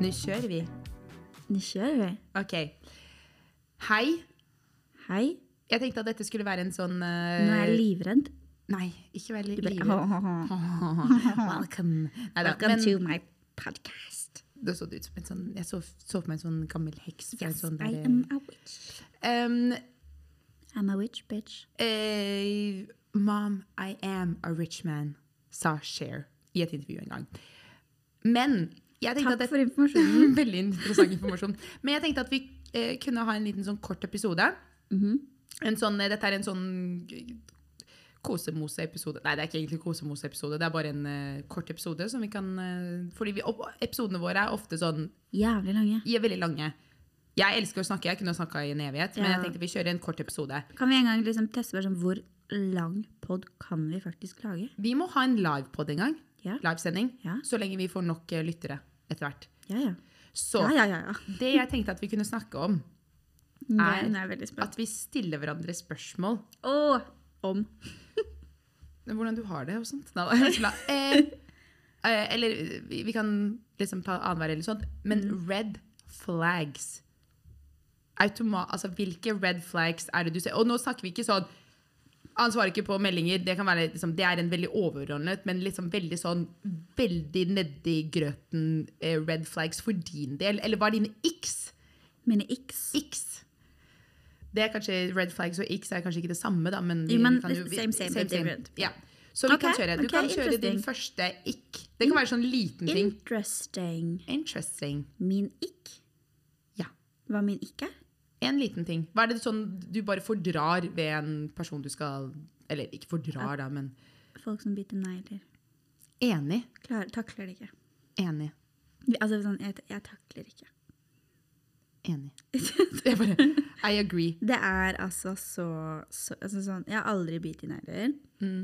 Nu kör vi. Nu kjører vi. Okej. Hei. Hei. Jeg tenkte at dette skulle være en sånn eh, Nå er jeg livredd. Nei, ikke veldig Du bare, livet. «Hahaha, Welcome. Neida, Welcome men to my podcast. det så det ut som en sånn Jeg så, så for meg en sånn gammel heks. fra en Yes, sånn I der, am a witch. um, I'm a witch, bitch. eh, Mom, I am a rich man, sa Cher i et intervju en gang. Men jeg tenkte at Takk dette for informasjonen. Veldig interessant informasjon. Men jeg tenkte at vi eh, kunne ha en liten sånn kort episode. Mm-hmm. en sånn, eh, dette er en sånn kosemose-episode. Nei, det er ikke egentlig kosemose-episode. Det er bare en eh, kort episode som vi kan eh, Fordi vi, opp- episodene våre er ofte sånn Jævlig lange. De er veldig lange. Jeg elsker å snakke, jeg kunne ha snakka i en evighet, men jeg Ja. tenkte vi kjører en kort episode. Kan vi en gang liksom teste bare sånn, hvor lang pod kan vi faktisk lage? Vi må ha en livepod en gang. Ja. Livesending. Ja. Så lenge vi får nok eh, lyttere etter hvert. Ja, ja. Så Ja, ja, ja. ja. det jeg tenkte at vi kunne snakke om, Nå Er- nå er jeg veldig spent. at vi stiller hverandre spørsmål Å, om. hvordan du har det og sånt. Nei, da, tulla. eh, eh, eller eh, vi vi kan liksom ta annenhver eller sånt. Men red flags Automa Altså hvilke red flags er det du ser? Og nå snakker vi ikke sånn han svarer ikke på meldinger. Det, kan være, liksom, det er en veldig overordnet, men liksom veldig sånn veldig nedi grøten eh, red flags for din del. Eller hva er dine x? Mine x. X. Det er kanskje Red flags og X er kanskje ikke det samme, da, men, vi, Jo, men vi kan jo, vi, same, same, but different. Ja. Så vi kan Ok, kjøre. Du ok, kan kjøre din interesting. Mm. første ikk. Det kan være sånn liten ting. Interesting. Interesting. Min ikk? Ja. Hva min ikk er? En liten ting. Hva er det sånn du bare fordrar ved en person du skal Eller ikke fordrar, da, men Folk som biter negler. Enig. Klarer- Takler det ikke. Enig. Altså, sånn, jeg, jeg takler ikke. Enig. Jeg bare I agree. Det er altså så, så altså sånn, Jeg har aldri bitt i negler. Mm.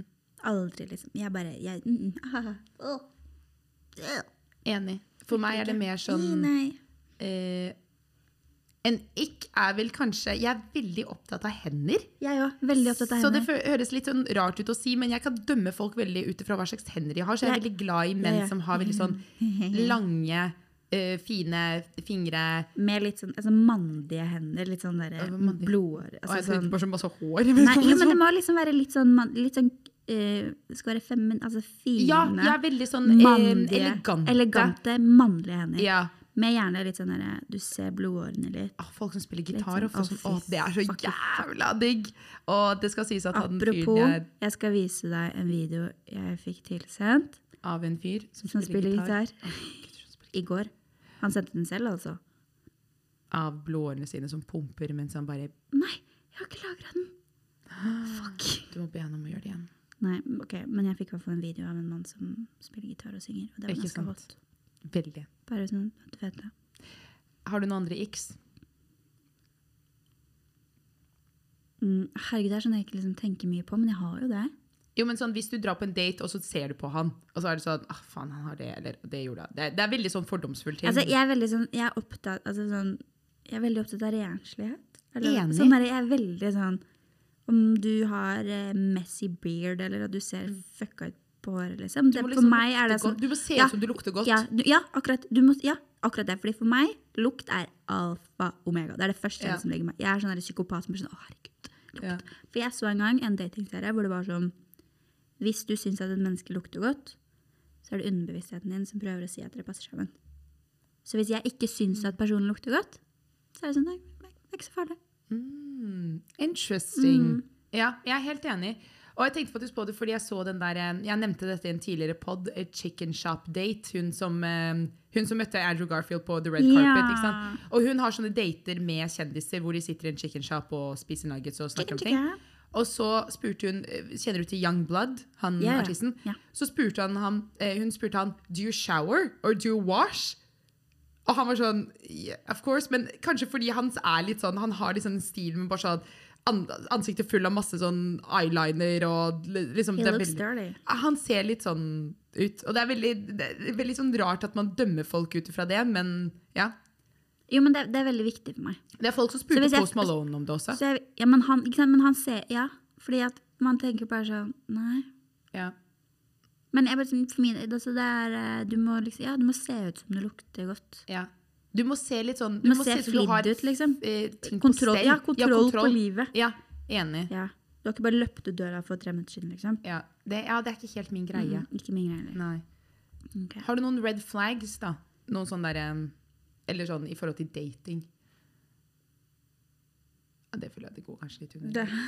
Aldri, liksom. Jeg bare jeg, mm, mm, ah, ah, ah. Enig. For meg er det mer Nei, sånn nei. eh, En ikk er vel kanskje Jeg er veldig opptatt av hender. Jeg òg. Veldig opptatt av Så det henne. fø- høres litt sånn rart ut å si, men jeg kan dømme folk veldig ut ifra hva slags hender de har. Så jeg er Ja. veldig glad i menn Ja, ja. som har veldig sånn lange, eh, fine fingre. Med litt sånn altså, mandige hender. Litt sånn derre Ja, mandig. blodår. Og Altså, jeg tenkte sånn, bare så masse hår. nei, jo, men det må liksom være litt sånn, man- litt sånn eh, Det skal være femin... Altså fine, ja, jeg er veldig sånn eh, mandige, elegante. elegante, mannlige hender. Ja. Med gjerne litt sånn derre Du ser blodårene litt. Ah, folk som spiller Litt gitar. sånn, og folk å, som, fy å, det er så fucking jævla digg! Og det skal sies at han fyren Apropos, jeg- jeg skal vise deg en video jeg fikk tilsendt av en fyr som, som spiller, gitar, i går. Han sendte den selv, altså. av blodårene sine som pumper mens han bare Nei, jeg har ikke lagra den! Fuck. Du må be han om å gjøre det igjen. Nei, ok, Men jeg fikk i hvert fall en video av en mann som spiller gitar og synger. Og det var Ikke ganske sant. hot. Veldig. Bare sånn at du vet det. Har du noen andre x? Mm, herregud, det er sånn jeg ikke liksom tenker mye på, men jeg har jo det. Jo, men sånn, Hvis du drar på en date, og så ser du på han, og så er det sånn ah, faen, han har det, eller det gjorde han. Det, det er veldig sånn fordomsfull ting. Altså, jeg er veldig sånn, jeg er opptatt, altså sånn, jeg er veldig opptatt av renslighet. Eller, Enig. Sånn der, jeg er veldig sånn, om du har eh, messy beard, eller at du ser fucka ut på håret, liksom. Mm. Du Det, må liksom for meg er det lukte sånn, godt. Du må se Ja, ut som du lukter godt. ja, du, ja, akkurat, du må, ja, akkurat det. Fordi for meg, lukt er alfa omega. Det er det første Ja. jeg liksom legger meg. Jeg er sånn der psykopat som blir sånn, å herregud, lukt. Ja. For jeg så en gang en datingserie hvor det var sånn, hvis du synes at et menneske lukter godt, så er det underbevisstheten din som prøver å si at dere passer sammen. Så hvis jeg ikke syns at personen lukter godt, så er det sånn nei, nei, det er ikke så farlig. Mm, interesting. Mm. Ja, jeg er helt enig. Og jeg tenkte faktisk på det fordi jeg så den der eh, Jeg nevnte dette i en tidligere pod, eh, Chicken Shop Date. Hun som, eh, hun som møtte Andrew Garfield på The Red Ja. Carpet. Ikke sant? Og hun har sånne dater med kjendiser hvor de sitter i en chicken shop og spiser nuggets og snakker om ting. Mm, Og så spurte hun eh, Kjenner du til Young Blood, han Ja, ja. artisten? Ja. Så spurte han, han eh, hun spurte han Do you shower or do you wash? Og han var sånn yeah, Of course. Men kanskje fordi hans er litt sånn Han har liksom en stil med bare sånn an- Ansiktet full av masse sånn eyeliner og li- liksom He det er looks veldig- dirty. Han ser litt sånn ut. Og det er veldig, det er veldig sånn rart at man dømmer folk ut ifra det, men ja. Jo, men det, det er veldig viktig for meg. Det er folk som Så spurte hvis jeg- Post Malone om det også. Så jeg, ja, men, han, ikke sant? men han ser Ja, fordi at man tenker bare sånn Nei. Ja. Men jeg bare sånn, for min, altså det er, eh, du, må liksom, ja, du må se ut som du lukter godt. Ja. Du må se litt sånn Du må, se ut som flidd har, ut, liksom. eh, ting på Kontroll, stell. ja, kontroll, på livet. Ja, enig. Ja. Du har ikke bare løpt ut døra for tre minutter siden, liksom. Ja. Det, ja, det er ikke helt min greie. Mm, ikke min greie. liksom. Nei. Ok. Har du noen red flags, da? Noen sånn derre Eller sånn i forhold til dating? Ja, det føler jeg det går kanskje litt under.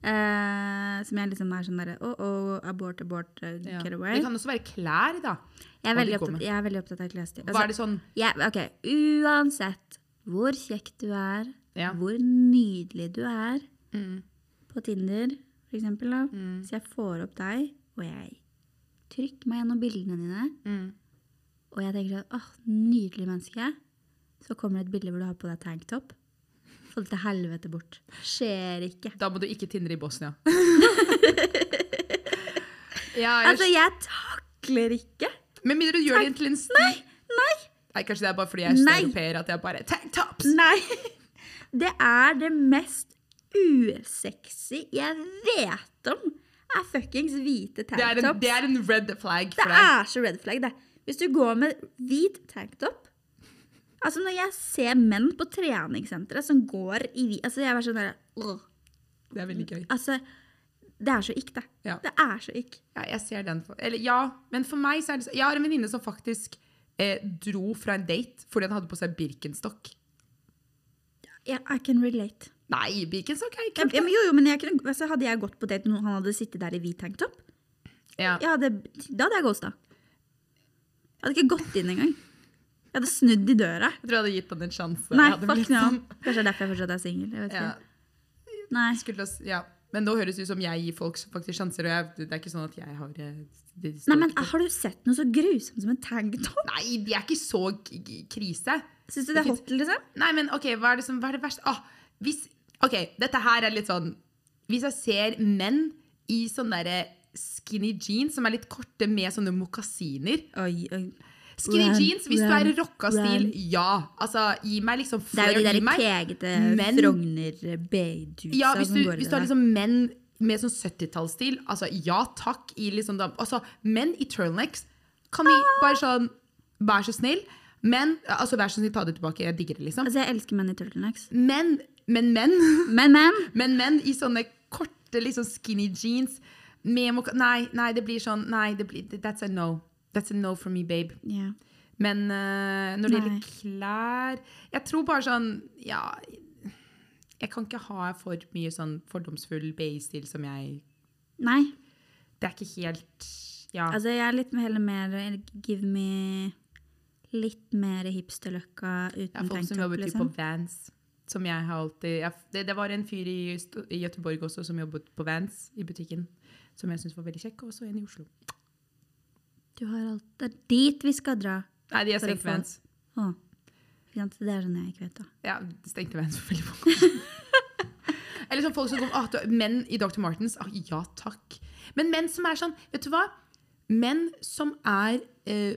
Det. Eh, som jeg liksom er sånn derre oh, oh, abort, abort, eh, Ja. get Det away. kan også være klær, da. Jeg er, hva du veldig går opptatt, med. jeg er veldig opptatt av klesstil. Hva er det sånn Ja, ok. Uansett hvor kjekk du er, Ja. hvor nydelig du er Mm. på Tinder, for eksempel, da. Mm. så jeg får opp deg, og jeg trykker meg gjennom bildene dine, Mm. og jeg tenker sånn, åh, nydelig menneske. Så kommer det et bilde hvor du har på deg tanktop. Få det til helvete bort. Skjer ikke. Da må du ikke tindre i Bosnia. ja, jeg, Altså, jeg takler ikke. Med mindre du gjør det til en sti. Nei, Nei, Kanskje det er bare fordi jeg er Nei. europeer at jeg bare Tank tops! nei. Det er det mest usexy jeg vet om, er fuckings hvite Det er, en, tanktops. det er en red flag Det for deg. er så red flag, det. Hvis du går med hvit tanktop Altså, når jeg ser menn på treningssenteret som går i hvit Altså, jeg er bare sånn der «Åh». Det er veldig gøy. Altså, det er så ikk, det. Ja. Det er så ikk. Ja, jeg ser den for, eller, ja, men for meg så er det så Jeg har en venninne som faktisk eh, dro fra en date fordi han hadde på seg Birkenstock. Ja, I can relate. Nei, Birkenstock er Ja, ikke men jo, jo, men jeg kunne, altså, hadde jeg gått på date med noen han hadde sittet der i hvit tanktop, ja. jeg hadde, da hadde jeg ghosta. Jeg hadde ikke gått inn engang. Jeg hadde snudd i døra. Jeg tror jeg hadde gitt han en sjanse. Nei, Jeg hadde blitt fuck no. sånn- Kanskje det er derfor jeg fortsatt er singel. Ja, Nei. jeg skulle også- ja. Men nå høres det ut som jeg gir folk faktisk sjanser, og jeg, det er ikke sånn at jeg har eh, det står Nei, men ikke- har du sett noe så grusomt som en tanktop? Nei, de er ikke så k- k- krise. Syns du det er Det hot, liksom? Nei, men ok, hva er det, som, hva er det verste? Ah, hvis, ok, dette her er litt sånn Hvis jeg ser menn i sånne der skinny jeans som er litt korte med sånne mokasiner Oi, oi. Skinny Run, jeans, hvis du er i run, rocka stil, run. ja. Altså, gi meg liksom Det er flair, jo de der gi meg- kegete men- Frogner-beidusa Ja, hvis du, som går i hvis du har det. der. liksom menn med sånn 70-tallsstil, altså ja takk i liksom da, altså, Menn i turtlenecks, kan vi Ah. bare sånn Vær så snill. Men altså, vær så snill, ta det tilbake. Jeg digger det, liksom. Altså, jeg elsker menn i turtlenecks. Men, men, men. Men, men! Men menn i sånne korte, liksom skinny jeans med mok Nei, nei, det blir sånn Nei, det blir, that's a no. That's a no for me, babe. Ja. Men eh, når det Nei. gjelder klær Jeg tror bare sånn Ja. Jeg kan ikke ha for mye sånn fordomsfull BI-stil som jeg Nei. Det er ikke helt Ja. Altså, jeg er litt mer- heller mer Give me litt mer hipsterløkka uten Det er folk som tanktop, jobber typ liksom. på Vans. Som jeg har alltid jeg, det, det var en fyr i, Sto- i Gøteborg også som jobbet på Vans i butikken. Som jeg syntes var veldig kjekk. Og så en i Oslo. Du har alt. Det er dit vi skal dra. Nei, de har For å stengt få- Vans. Å. Ikke sant? Det er sånn jeg ikke vet, da. Ja, det stengte veien for veldig mange. Eller sånn folk som går, ah, du- Menn i Dr. Martens. Ah, ja takk. Men menn som er sånn Vet du hva? Menn som er eh,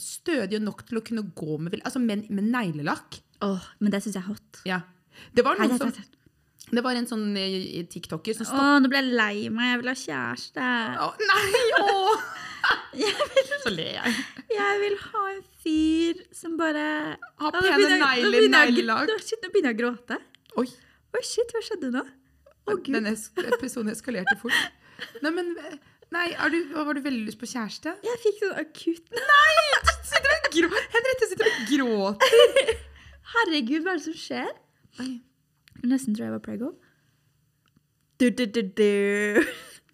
stødige nok til å kunne gå med vel- Altså menn med neglelakk. Åh, men det syns jeg er hot. Ja. Det var, Hei, noen hei, som, hei, hei. det var en sånn eh, TikToker som stoppa Åh, nå ble jeg lei meg. Jeg vil ha kjæreste. Å, Nei, åh! Så ler jeg. Jeg vil ha en fyr som bare Ha Åh, nå pene begynner jeg- nå negler, begynner jeg- neglelakk. nå- Shit, nå begynner jeg å gråte. Oi. Oi, shit, hva skjedde nå? Å, Gud. Denne es- episoden eskalerte fort. Nei, men eh, Nei, er du, har du veldig lyst på kjæreste? Jeg fikk sånn akutt Nei! Sitter og grå Henriette sitter og gråter. Herregud, hva er det som skjer? Oi. Jeg Nesten tror jeg var prego. Du, du, du, du.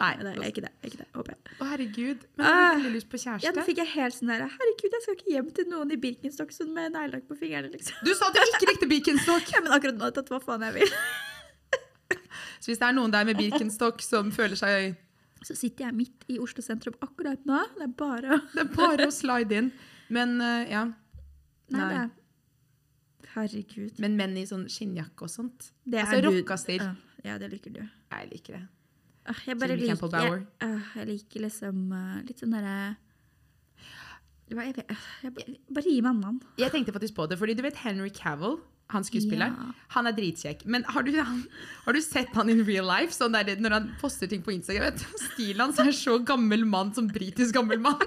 Nei, det er ikke det. jeg er Ikke det håper jeg. Å, herregud. Men jeg har Ah. veldig lyst på Ja, nå kjæreste. fikk jeg helt sånn der Herregud, jeg skal ikke hjem til noen i Birkenstock som med neglelakk på fingrene, liksom. Du sa at du ikke likte Birkenstock! Ja, men akkurat nå har jeg tatt hva faen jeg vil. Så hvis det er noen der med Birkenstock som føler seg Så sitter jeg midt i Oslo sentrum akkurat nå. Det er bare å Det er bare å slide inn. Men eh, ja. Nei, Nei. det er Herregud. Men menn i sånn skinnjakke og sånt. Det Altså du- rockastil. Ja, Ja, det liker du. Jeg liker det. Åh, Jeg bare Jimmy liker Campbell Bower. jeg, åh, jeg liker liksom eh, litt sånn derre Hva- jeg, vet- åh, jeg, bare- Bare gi meg en mann. Jeg tenkte faktisk på det, fordi du vet Henry Cavill han skuespilleren. Ja. Han er dritkjekk. Men har du, han, har du sett han in real life? Sånn der, når han poster ting på Instagram. Vet du, stilen hans er så gammel mann som britisk gammel mann.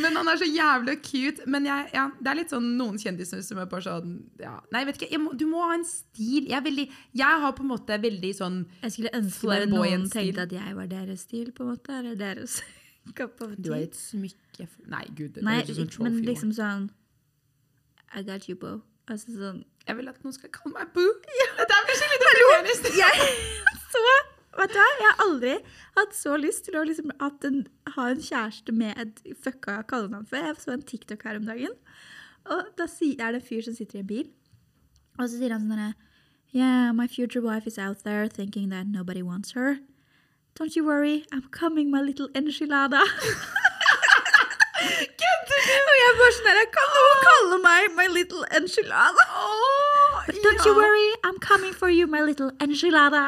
Men han er så jævlig cute. Men jeg, ja, det er litt sånn noen kjendiser som er bare sånn ja. Nei, vet ikke. Jeg må, du må ha en stil. Jeg, er veldig, jeg har på en måte veldig sånn Jeg skulle ønske bare noen Flamboyant stil. tenkte at jeg var deres stil, på en måte. Eller deres kopp av Du er te. et smykke for- Nei, gud. Det Nei, høres ut som en ikke- men trophy liksom sånn I got you, bro. Altså sånn Jeg vil at noen skal kalle meg Boo. Dette er skikkelig dårlig. Jeg så Vet du hva, jeg har aldri hatt så lyst til å liksom at en, ha en kjæreste med et fucka kallenavn før. Jeg så en TikTok her om dagen, og da si- er det en fyr som sitter i en bil, og så sier han sånn derre Yeah, my future wife is out there thinking that nobody wants her. Don't you worry, I'm coming, my little enchilada. Kødder du? Og jeg bare sånn der, Kan noen kalle meg my little enchilada? But don't you ja. worry, I'm coming for you, my little enchilada.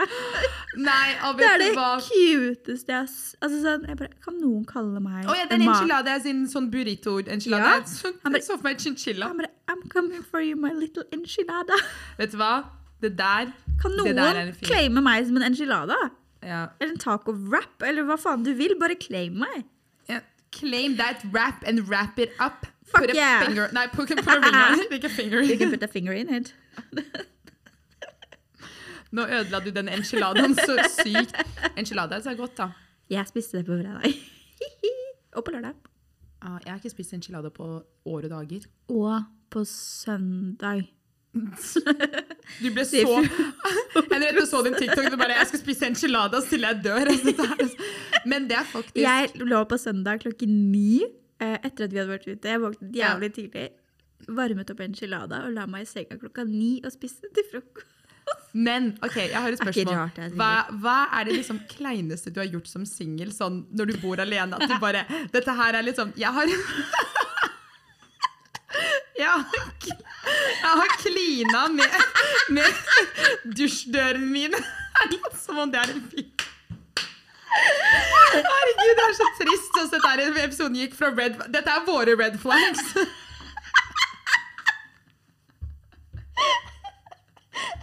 Nei, og Det er vet det du hva? cuteste jeg s- altså, sånn, jeg bare, Kan noen kalle meg Å ja, den en ma- enchilada er sin sånn burrito-enchilada. Ja. Jeg så- Han bare- Jeg så for meg chinchilla. Han bare, I'm coming for you, my little enchilada. Vet du hva? Det der Kan Det noen der er en fin- claime meg som en enchilada? ja. Eller en taco-wrap? Eller hva faen du vil, bare claim meg. Ja. Claim that wrap and wrap it up. Fuck put a yeah. finger Nei, put, put a ring on it. Ikke finger You can in. put a finger in it. Nå ødela du den enchiladaen så sykt. Enchilada er godt, da. Jeg spiste det på fredag. og på lørdag. Ah, Jeg har ikke spist enchilada på år og dager. Og på søndag. Du ble så Henriette så din TikTok og bare 'Jeg skal spise enchiladas til jeg dør'. Altså, det er- Men det er faktisk Jeg lå på søndag klokken ni eh, etter at vi hadde vært ute. Jeg våknet Ja. jævlig tidlig, varmet opp enchilada og la meg i senga klokka ni og spiste til frokost. Men ok, jeg har et Er ikke spørsmål. rart det er hva, hva er det liksom kleineste du har gjort som singel sånn, når du bor alene? At du bare Dette her er liksom Jeg har Jeg har, jeg har klina med, med dusjdøren min. Som om det er en fyr. Herregud, det er så trist. Sånn sett er det episoden gikk fra red Dette er våre red flags.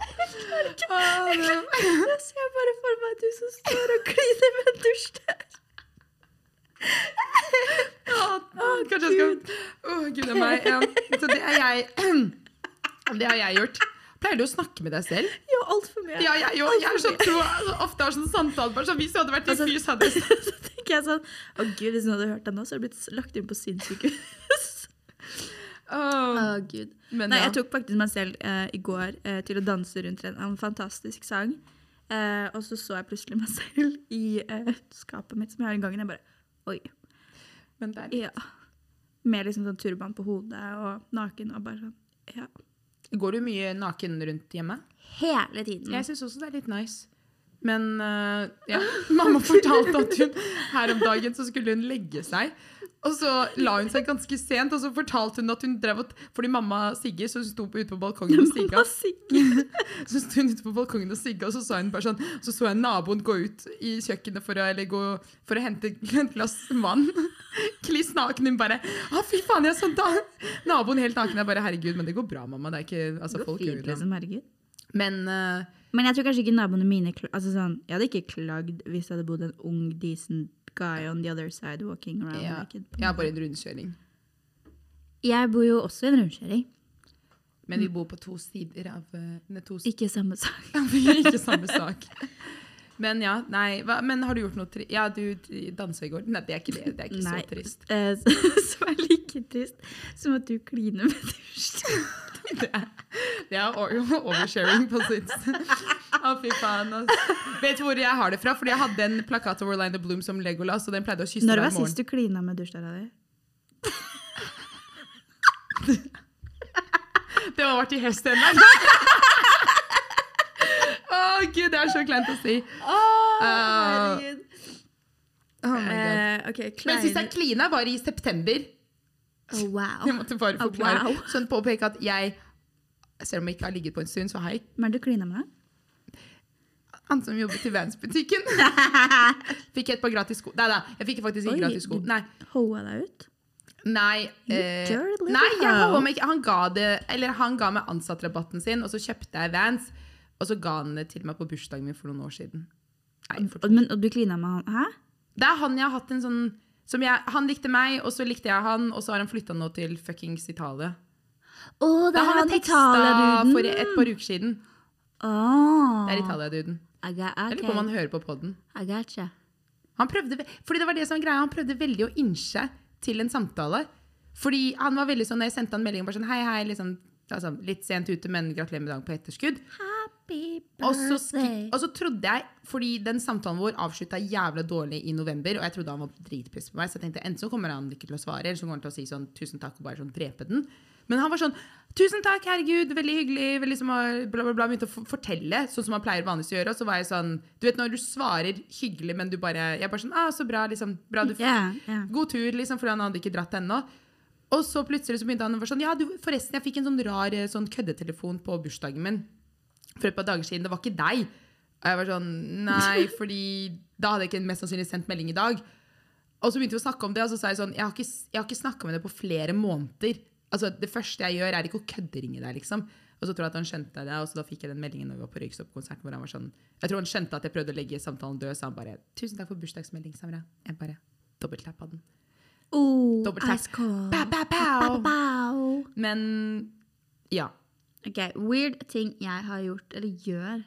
Åh, det- Jeg ser bare for meg at du som står og kliner med en dusjdør. Å, Kanskje jeg skal Å, gud a meg. Ja. Så det er jeg Det har jeg gjort. Pleier du å snakke med deg selv? Ja, altfor mye. Ja, jeg òg. Jeg er så pro, altså, ofte har sånn samtale bare sånn Hvis du hadde vært i Altså- fyr, så hadde jeg så tenker jeg sånn Å gud, hvis noen hadde hørt deg nå, så hadde du blitt lagt inn på sinnssykehus. Å Åh, gud. Men Ah, Nei, ja. jeg tok faktisk meg selv eh, i går eh, til å danse rundt en, en fantastisk sang. Eh, og så så jeg plutselig meg selv i eh, skapet mitt som jeg har i gangen. Jeg bare Oi. Men det er Ja. Med liksom sånn turban på hodet og naken og bare sånn. Ja. Går du mye naken rundt hjemme? Hele tiden. Jeg syns også det er litt nice. Men eh, ja, mamma fortalte at hun her om dagen så skulle hun legge seg. Og så la hun seg ganske sent, og så fortalte hun at hun drev og Fordi mamma Sigge, så hun sto på- ute på balkongen og sigga. Mamma sigger. Så sto hun ute på balkongen og sigga, og så sa hun bare sånn Så så jeg naboen gå ut i kjøkkenet for å, eller gå, for å hente et glass vann. Kliss naken. Hun bare Å, fy faen, jeg så da Naboen helt naken. Jeg bare Herregud, men det går bra, mamma. Det er ikke Altså, Det går folk gjør fint, jo det. liksom. Herregud. Men eh, Men jeg tror kanskje ikke naboene mine kl altså sånn, Jeg hadde ikke klagd hvis det hadde bodd en ung, decent guy on the other side walking around. ja, naked. jeg har bare en rundkjøring. Jeg bor jo også i en rundkjøring. Men vi bor på to sider av eh, nei, to sider. Ikke samme sak. Ikke samme sak. Men ja, nei hva, Men har du gjort noe tri... Ja, du dansa i går. Nei, det er ikke det. Det er ikke Nei. så trist. Eh, Som er like trist som at du kliner med dusj. Det er, det er o- oversharing på sitt. Å, fy faen. Altså. Vet du hvor jeg har det fra? Fordi jeg hadde en plakat av Orlando Bloom som Legolas, og den pleide å kysse Når hver var sist morgen. du klina med dusjdøra di? Det har vært i hestehender. Å, gud, det er så kleint å si. Ah, herregud. Oh my God. Eh, ok, Men sist jeg klein klina, var i september. Å, Jeg Wow. måtte bare Oh, forklare. wow. Sånn påpeke at jeg, selv om jeg ikke har ligget på en stund, så har jeg Men du klina med det? han som jobbet i Vans-butikken. Fikk et par gratis sko. Nei da, jeg fikk faktisk Oi, ikke gratis sko. du- Nei. Hoa deg ut? Nei, eh, You dirty nei jeg little holder meg ikke. Han ga, det, eller han ga meg ansattrabatten sin, og så kjøpte jeg Vans. Og så ga han det til meg på bursdagen min for noen år siden. Nei, for Og- Men, og du klina med han? Hæ? Det er han jeg har hatt en sånn som jeg, Han likte meg, og så likte jeg han, og så har han flytta nå til fuckings Italia. Å, det Da er har han jeg teksta Italia-duden! for et par uker siden. Åh. Det er Italia-duden. I got- Jeg lurer ok. på om han hører på podden. I gotcha. Han prøvde, ve- fordi det var det som var greia, han prøvde veldig å innse til en samtale. Fordi han var veldig sånn, når jeg sendte han melding, bare sånn hei, hei, liksom, altså, litt sent ute, men gratulerer med dagen på etterskudd. Happy Og så, skri- birthday. og så trodde jeg, fordi den samtalen vår avslutta jævla dårlig i november, og jeg trodde han var dritpiss på meg, så jeg tenkte enten så kommer han ikke til å svare, eller så kommer han til å si sånn tusen takk og bare sånn drepe den. Men han var sånn tusen takk, herregud, veldig hyggelig, veldig som har bla, bla, bla, begynte å f- fortelle, sånn som han pleier vanligvis å gjøre, og så var jeg sånn Du vet når du svarer hyggelig, men du bare Jeg bare sånn ah, så bra, liksom. Bra du Ja, ja. God tur, liksom, fordi han hadde ikke dratt ennå. Og så plutselig så begynte han å være sånn Ja, du, forresten, jeg fikk en sånn rar eh, sånn køddetelefon på bursdagen min for et par dager siden. Det var ikke deg. Og jeg var sånn Nei, fordi da hadde jeg ikke mest sannsynlig sendt melding i dag. Og så begynte vi å snakke om det, og så sa jeg sånn Jeg har ikke, jeg har ikke snakka med deg på flere måneder. Altså, Det første jeg gjør, er ikke å kødderinge deg, liksom. Og så tror jeg at han skjønte det, og så da fikk jeg den meldingen når vi var på Røyksopp-konserten, hvor han var sånn Jeg tror han skjønte at jeg prøvde å legge samtalen død, så han bare 'Tusen takk for bursdagsmelding, Samra'. Jeg bare dobbelttappa den. Oh, Dobbelt tap. ice cold. Pow, pow, pow. Pow, pow, pow. Men ja. oh. Ok, Weird ting jeg har gjort, eller gjør.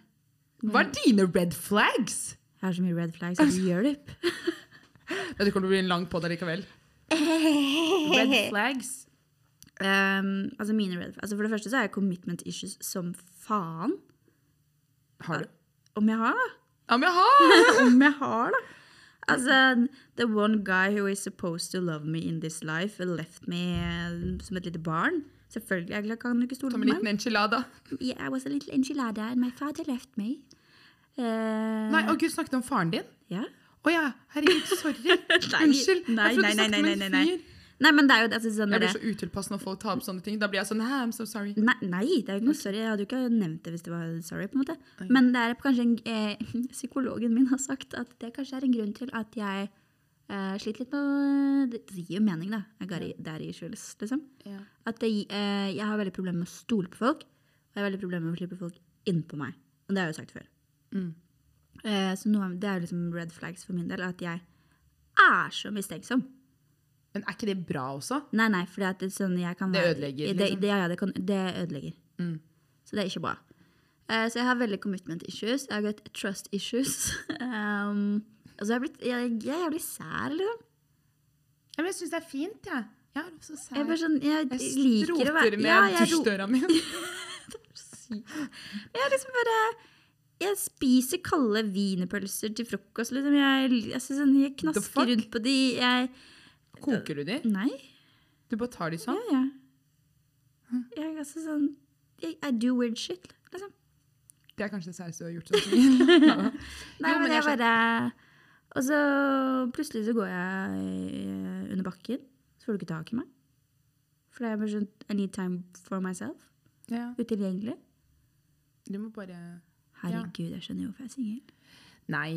Hva er dine red flags? Jeg har så mye red flags. at det Hjelp! Ja, det kommer til å bli en lang podd likevel. Red flags. Um, altså mine red flags. Altså for det første så har jeg commitment issues som faen. Har du? Om jeg har, da. Ja, men jeg har! Om jeg har, da. Altså, the one guy who is supposed to love me in this life left me eh, som et lite barn. Selvfølgelig jeg kan du ikke stole Som på en meg. liten enchilada. Yeah, I was a little enchilada and my father left me. Eh, Nei, og Gud snakket om faren din. ja. Å ja, herregud, sorry. Unnskyld. jeg Nei, trodde nei, du nei, snakket nei, om nei, en nei, nei. fyr. Nei, men det er jo altså, sånn Jeg derre- blir så utilpass når folk tar opp sånne ting. Da blir jeg sånn hey, I'm so sorry. Nei, nei, det er jo ikke noe sorry. Jeg hadde jo ikke nevnt det hvis det var sorry. på en måte. Men det er kanskje en, eh, psykologen min har sagt at det kanskje er en grunn til at jeg eh, sliter litt med Det gir jo mening, da. Jeg got it, that issues, liksom. At det, gi- eh, jeg har veldig problemer med å stole på folk. Og jeg har veldig problemer med å slippe folk innpå meg. Og det har jeg jo sagt før. Mm. Eh, så noe, av- det er jo liksom red flags for min del. At jeg er så mistenksom. Men er ikke det bra også? Nei, nei, for det, sånn, jeg kan Det være- ødelegger, Det, liksom. det, ja, ja, det, kan, det ødelegger. Mm. Så det er ikke bra. Eh, så jeg har veldig commitment issues. Jeg har got trust issues. um, altså jeg, er blitt, jeg, jeg er jævlig sær, liksom. Ja, men jeg syns det er fint, jeg. Jeg er også sær. Jeg, er bare sånn, jeg, Jeg liker å være stroter med ja, jeg ro- dusjdøra mi. Jeg er liksom bare Jeg spiser kalde wienerpølser til frokost, liksom. Jeg, jeg, synes sånn, jeg fuck? knasker rundt på de. Jeg Koker du de? Nei. Du bare tar de sånn? Ja, ja. Jeg, er altså, sånn, jeg, I do weird shit, liksom. Det er kanskje det særeste du har gjort. Sånn. Nei, Jo, men men, jeg jeg bare Og så plutselig så går jeg eh, under bakken, så får du ikke tak i meg. For det er bare sånn I need time for myself. ja, Utilgjengelig. du må bare Herregud, jeg skjønner jo hvorfor jeg er singel. Nei.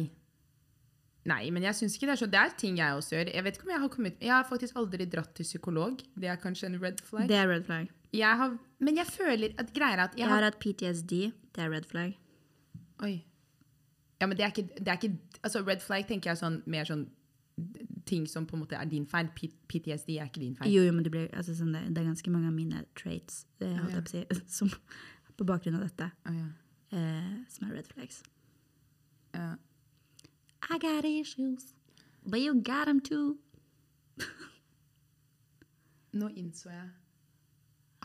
Nei, men jeg synes ikke det er sånn. Det er ting jeg også gjør. Jeg vet ikke om jeg har kommet... Jeg har faktisk aldri dratt til psykolog. Det er kanskje en red flag. Det er red flag. Jeg har... Men jeg føler at greier er at jeg Jeg har har... hatt PTSD. Det er red flag. Oi. Ja, men det er ikke... Det er ikke altså, red flag tenker jeg sånn, mer sånn ting som på en måte er din feil. P PTSD er ikke din feil. Jo, jo, men det, blir, altså, sånn, det, det er ganske mange av mine traits eh, holdt jeg på å si, som, på bakgrunn av dette Å, ja. eh, som er red flags. Ja. I got issues, but you got them too. Nå innså jeg...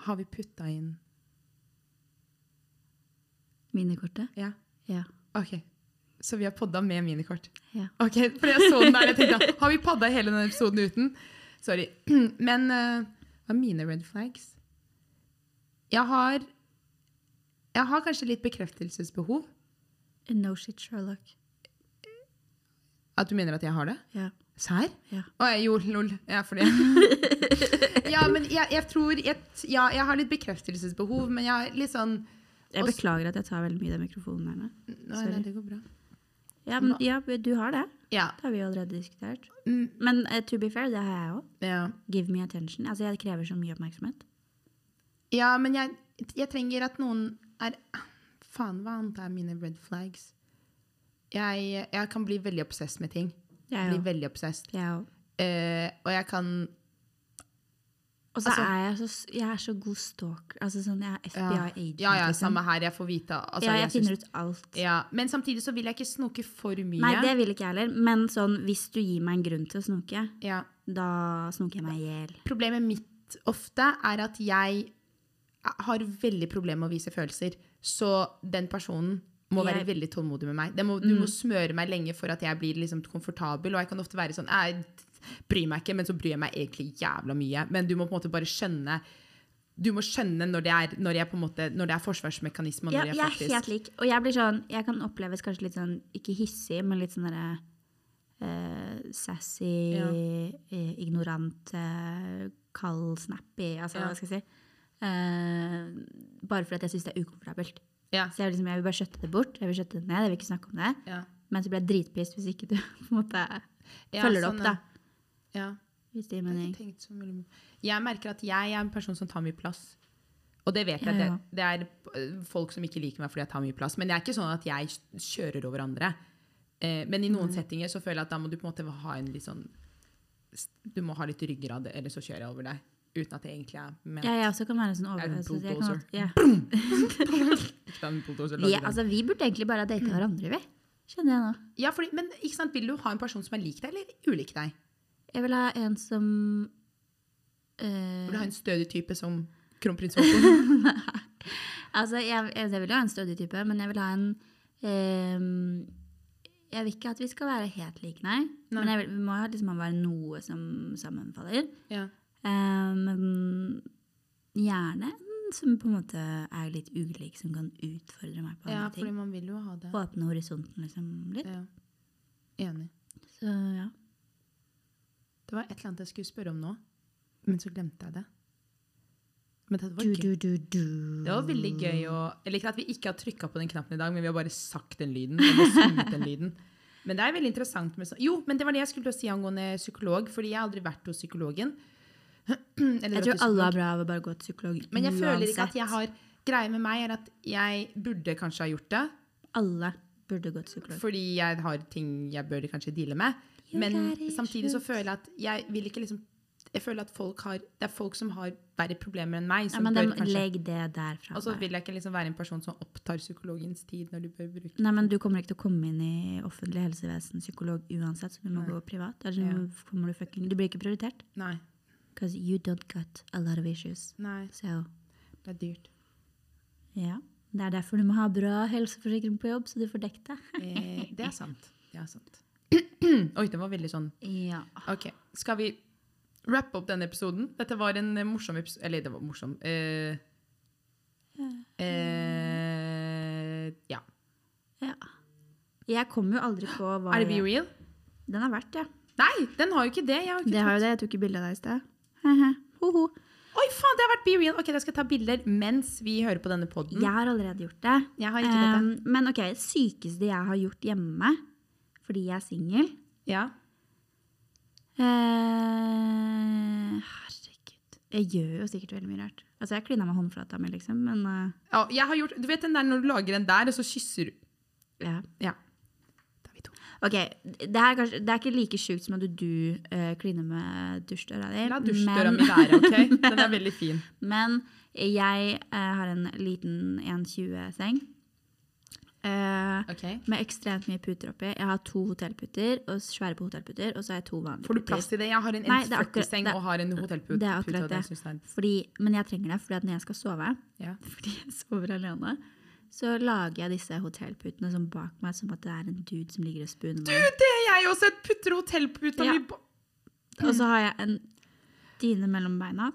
Har vi puttet inn... Minnekortet? Ja, Ja. ok. Så vi har podda med minikort. ja. Ok, for jeg så den der, jeg tenkte, har vi padda hele denne episoden uten? Sorry. Men eh, hva er mine red flags? Jeg har, jeg har kanskje litt bekreftelsesbehov. No shit, Sherlock. At du mener at jeg har det? Ja. Sær? Ja. Å, jeg, jo, lol. Ja, for det. ja, men jeg, jeg tror jeg, Ja, jeg har litt bekreftelsesbehov, men jeg er litt sånn Jeg Og s- beklager at jeg tar veldig mye av den mikrofonen her nå. Nei, Sorry. nei, det går bra. Ja, men ja, du har det. Ja. Det har vi jo allerede diskutert. Mm, Men eh, to be fair, det har jeg òg. ja. Give me attention. Altså, jeg krever så mye oppmerksomhet. ja men jeg, jeg trenger at noen er Faen, hva annet er mine red flags? Jeg, jeg kan bli veldig obsess med ting. Jeg Bli òg. veldig obsess. Jeg òg. Eh, og jeg kan Og så Altså- er jeg så, s- jeg er så god stalker. Altså sånn, jeg er Ja, FBI-agent. ja, ja liksom. samme her. Jeg får vite altså, ja, jeg, syns- finner ut alt. ja. Men samtidig så vil jeg ikke snoke for mye. Nei, det vil ikke jeg heller. Men sånn, hvis du gir meg en grunn til å snoke, ja. da snoker jeg meg i hjel. Problemet mitt ofte er at jeg har veldig problemer med å vise følelser. Så den personen må være Jeg- Mm. veldig tålmodig med meg. Det må, du må smøre meg lenge for at jeg blir liksom komfortabel. Og jeg kan ofte være sånn Jeg bryr meg ikke, men så bryr jeg meg egentlig jævla mye. Men du må på en måte bare skjønne Du må skjønne når det er, når jeg på en måte, når det er forsvarsmekanisme. Og Ja, når jeg jeg er faktisk, helt lik. Og jeg blir sånn, jeg kan oppleves kanskje litt sånn, ikke hissig, men litt sånn derre eh, sassy, Ja. eh, ignorant, eh, kald, snappy, altså Ja. hva skal jeg si. Eh, bare fordi at jeg syns det er ukomfortabelt. Ja, Så jeg, vil liksom, jeg vil bare skjøtte det bort, jeg vil skjøtte det ned, jeg vil ikke snakke om det. ja, Men så blir jeg dritpist hvis ikke du på en måte Ja, følger det opp, sånn, da. ja. Hvis det gir Jeg har mening. ikke tenkt så veldig mye på- Jeg merker at jeg er en person som tar mye plass. Og det vet jeg. Ja, ja. Det, det er øh, folk som ikke liker meg fordi jeg tar mye plass. Men det er ikke sånn at jeg kjører over andre. Eh, men i noen settinger så føler jeg at da må du på en måte ha en litt sånn Du må ha litt ryggrad, eller så kjører jeg over deg. Uten at det egentlig er ment. Ja, jeg også kan være sånn Jeg er en overrasket. Jeg kan, bulldozer. alltid- ja. Ikke en bulldozer, vi, lager den. altså, vi burde egentlig bare ha data hverandre, vi. Kjenner jeg nå. Ja, fordi, men ikke sant, vil du ha en person som er lik deg, eller ulik deg? Jeg vil ha en som eh, Vil du ha en stødig type som kronprins Haakon? Altså, jeg, jeg jeg vil jo ha en stødig type, men jeg vil ha en ehm, Jeg vil ikke at vi skal være helt like, nei. Nei. Men jeg vil, vi må jo liksom være noe som sammenfaller. ja. Eh, men gjerne en som på en måte er litt ulik, som kan utfordre meg på andre ja, fordi ting. man vil jo ha det. Åpne horisonten liksom litt. Ja. Enig. Så ja. Det var et eller annet jeg skulle spørre om nå, men så glemte jeg det. Men det var, Du, gøy. du, du, du. Det var veldig gøy å Jeg liker at vi ikke har trykka på den knappen i dag, men vi har bare sagt den lyden. Vi har bare sunget den lyden. Men det er veldig interessant med sånn Jo, men det var det jeg skulle til å si angående psykolog, fordi jeg har aldri vært hos psykologen. Eller Jeg vært hos tror alle har bra av å bare gå til psykolog uansett. Men jeg føler ikke at jeg har Greia med meg er at jeg burde kanskje ha gjort det, Alle burde gå til psykolog. fordi jeg har ting jeg bør kanskje deale med. Jo, Men det er samtidig så slutt. føler jeg at jeg vil ikke liksom Jeg føler at folk har Det er folk som har verre problemer enn meg, Ja, som men bør dem, kanskje legg det der fra Og så deg. vil jeg ikke liksom være en person som opptar psykologens tid når du bør bruke Nei, men Du kommer ikke til å komme inn i offentlig helsevesen psykolog uansett, så du må gå privat. Eller så kommer du fucking Du blir ikke prioritert. Nei. Because you don't got a lot of issues. Nei, So, det er dyrt. ja. Det er derfor du må ha bra helseforsikring på jobb, så du får dekket det. Eh, det er sant. Det er sant. Oi, det var veldig sånn Ja. OK, skal vi wrappe opp denne episoden? Dette var en eh, morsom episode Eller, det var morsom eh, eh, Ja. ja. Jeg kommer jo aldri på hva Er det Be jeg- Real? Den har vært, ja. Nei, den har jo ikke det. Jeg har ikke Det har jo det. Jeg tok jo bilde av deg i sted. Hehe. Hoho. Oi, faen, det har vært Be Real. Ok, Jeg skal ta bilder mens vi hører på denne podden. Jeg har allerede gjort det. Jeg har ikke tatt det. Um, men ok, sykeste jeg har gjort hjemme, fordi jeg er singel Ja. eh, Herregud. Jeg gjør jo sikkert veldig mye rart. Altså, jeg klina med håndflata mi, liksom, men eh, Ja, jeg har gjort, du vet den der når du lager den der, og så kysser du. ja. Ja. Da er vi to. Ok, det er, kanskje, det er ikke like sjukt som at du eh, kliner med dusjdøra di. La dusjdøra men- mi være, ok? Den er veldig fin. Men jeg eh, har en liten 1,20-seng. Eh, Ok. med ekstremt mye puter oppi. Jeg har to hotellputer og svære på hotellputer, og så har jeg to vanlige Får du puter. plass til det? Jeg har en Nei, det er akkurat- 40-seng det er- og har en hotellpute. det er akkurat og den det. synes jeg Fordi, men jeg trenger det, fordi at når jeg skal sove, er- Ja. fordi jeg sover alene, så lager jeg disse hotellputene som bak meg, som at det er en dude som ligger og spooner meg. Det er jeg også! Et putter hotellputa Ja. mi på Og så har jeg en dyne mellom beina.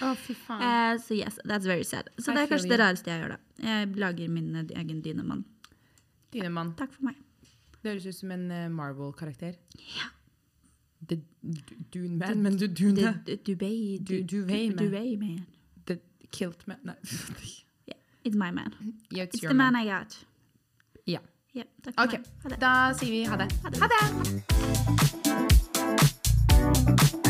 Å, fy faen. Eh, så yes, that's very sad. Så I det er feel kanskje det you. rareste jeg gjør, da. Jeg lager min egen dynemann. Dynemann. Takk for meg. Det høres ut som en eh, Marvel-karakter. Ja. The D- Dune Man, men du Dune Du- du- Dubai Du- du- Dubai man. Dubai man. The Kilt Man Nei. It's my man. Yeah, it's It's your the man. man I got. Ja. Ja, takk for Ok, meg. Ha det. da sier vi ha det. Ha det. Ha det!